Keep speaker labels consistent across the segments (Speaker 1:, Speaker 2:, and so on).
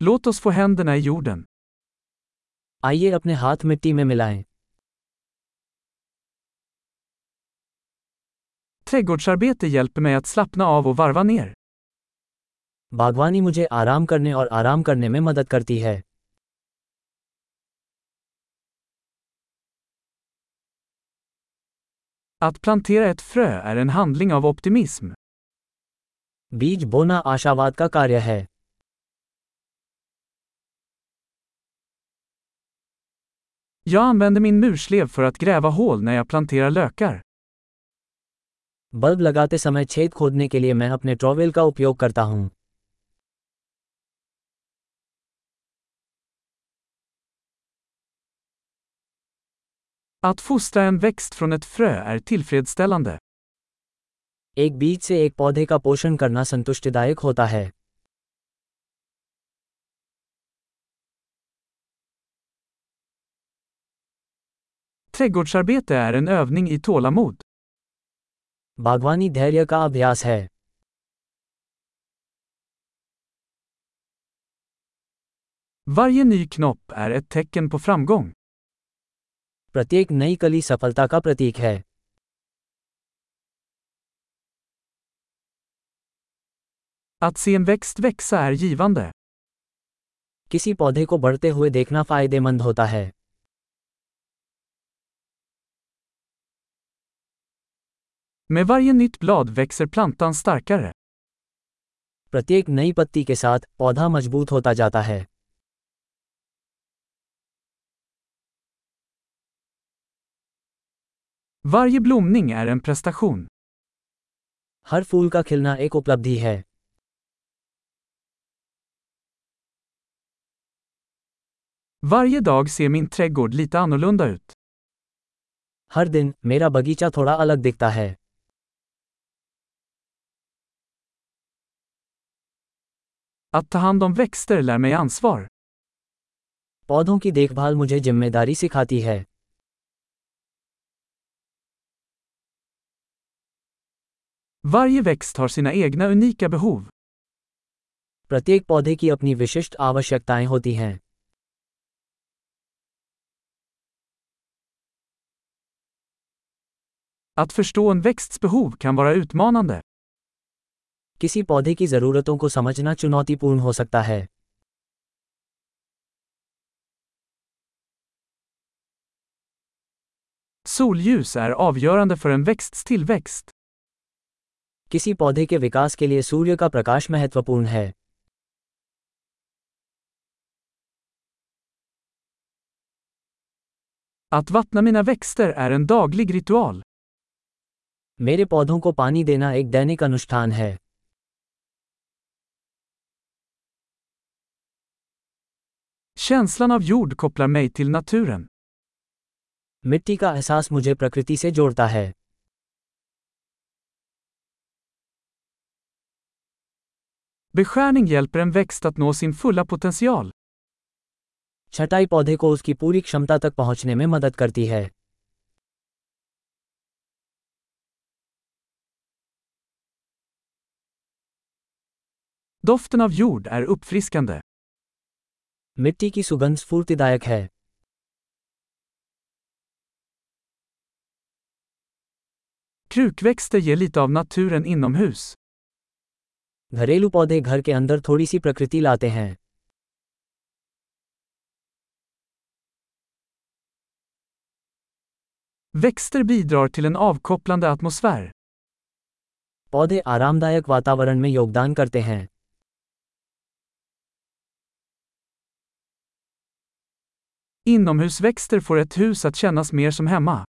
Speaker 1: Låt oss få händerna i jorden.
Speaker 2: आइए अपने हाथ मिट्टी में मिलाएं
Speaker 1: Trädgårdsarbete hjälper mig att slappna av och varva ner.
Speaker 2: बागवानी मुझे आराम करने और आराम करने में मदद करती है
Speaker 1: Att plantera ett frö är en handling av optimism.
Speaker 2: बीज बोना आशावाद का कार्य है
Speaker 1: Jag använder min murslev för att gräva hål när jag planterar lökar.
Speaker 2: Bulb लगाते समय छेद खोदने के लिए मैं अपने ट्रॉवेल का उपयोग करता हूँ
Speaker 1: Att fostra en växt från ett frö är tillfredsställande.
Speaker 2: एक बीज से एक पौधे का पोषण करना संतुष्टिदायक होता है
Speaker 1: Trädgårdsarbete är en övning i tålamod.
Speaker 2: बागवानी धैर्य का अभ्यास है
Speaker 1: Varje ny knopp är ett tecken på framgång.
Speaker 2: प्रत्येक नई कली सफलता का प्रतीक है
Speaker 1: Att se en växt växa är givande.
Speaker 2: किसी पौधे को बढ़ते हुए देखना फायदेमंद होता है
Speaker 1: Med varje nytt blad växer plantan starkare.
Speaker 2: प्रत्येक नई पत्ती के साथ पौधा मजबूत होता जाता है
Speaker 1: Varje blomning är en prestation.
Speaker 2: हर फूल का खिलना एक उपलब्धि है
Speaker 1: Varje dag ser min trädgård lite annorlunda ut.
Speaker 2: हर दिन मेरा बगीचा थोड़ा अलग दिखता है
Speaker 1: Att ta hand om växter lär mig ansvar.
Speaker 2: पौधों की देखभाल मुझे जिम्मेदारी सिखाती है
Speaker 1: Varje växt har sina egna unika behov.
Speaker 2: प्रत्येक पौधे की अपनी विशिष्ट आवश्यकताएं होती हैं
Speaker 1: Att förstå en växts behov kan vara utmanande.
Speaker 2: किसी पौधे की ज़रूरतों को समझना चुनौतीपूर्ण हो सकता है
Speaker 1: Solljus är avgörande för en växts tillväxt.
Speaker 2: किसी पौधे के विकास के लिए सूर्य का प्रकाश महत्वपूर्ण है
Speaker 1: Att vattna mina växter är en daglig ritual.
Speaker 2: मेरे पौधों को पानी देना एक दैनिक अनुष्ठान है
Speaker 1: Känslan av jord kopplar mig till naturen.
Speaker 2: मिट्टी का एहसास मुझे प्रकृति से जोड़ता है
Speaker 1: Beskärning hjälper en växt att nå sin fulla potential.
Speaker 2: छटाई पौधे को उसकी पूरी क्षमता तक पहुंचने में मदद करती है
Speaker 1: Doften av jord är uppfriskande.
Speaker 2: मिट्टी की सुगंध स्फूर्तिदायक है
Speaker 1: Krukväxter ger lite av naturen inomhus.
Speaker 2: घरेलू पौधे घर के अंदर थोड़ी सी प्रकृति लाते हैं
Speaker 1: Växter bidrar till en avkopplande atmosfär.
Speaker 2: पौधे आरामदायक वातावरण में योगदान करते हैं
Speaker 1: Inomhusväxter får ett hus att kännas mer som hemma.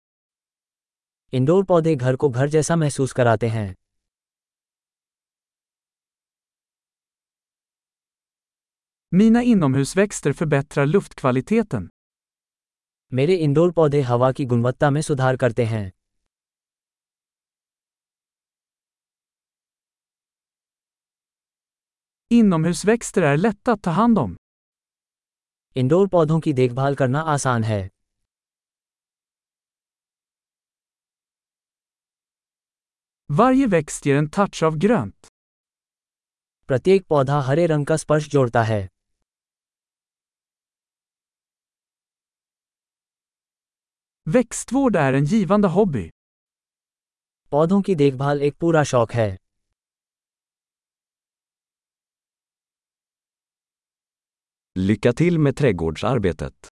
Speaker 2: Indoor पौधे घर को घर जैसा महसूस कराते हैं
Speaker 1: Mina inomhusväxter förbättrar luftkvaliteten.
Speaker 2: मेरे इंडोर पौधे हवा की गुणवत्ता में सुधार करते हैं
Speaker 1: Inomhusväxter är lätta att ta hand om.
Speaker 2: Indoor पौधों की देखभाल करना आसान है
Speaker 1: Varje växt ger en touch av grönt.
Speaker 2: प्रत्येक पौधा हरे रंग का स्पर्श जोड़ता है
Speaker 1: Växtvård är en givande hobby.
Speaker 2: पौधों की देखभाल एक पूरा शौक है
Speaker 3: Lycka till med trädgårdsarbetet!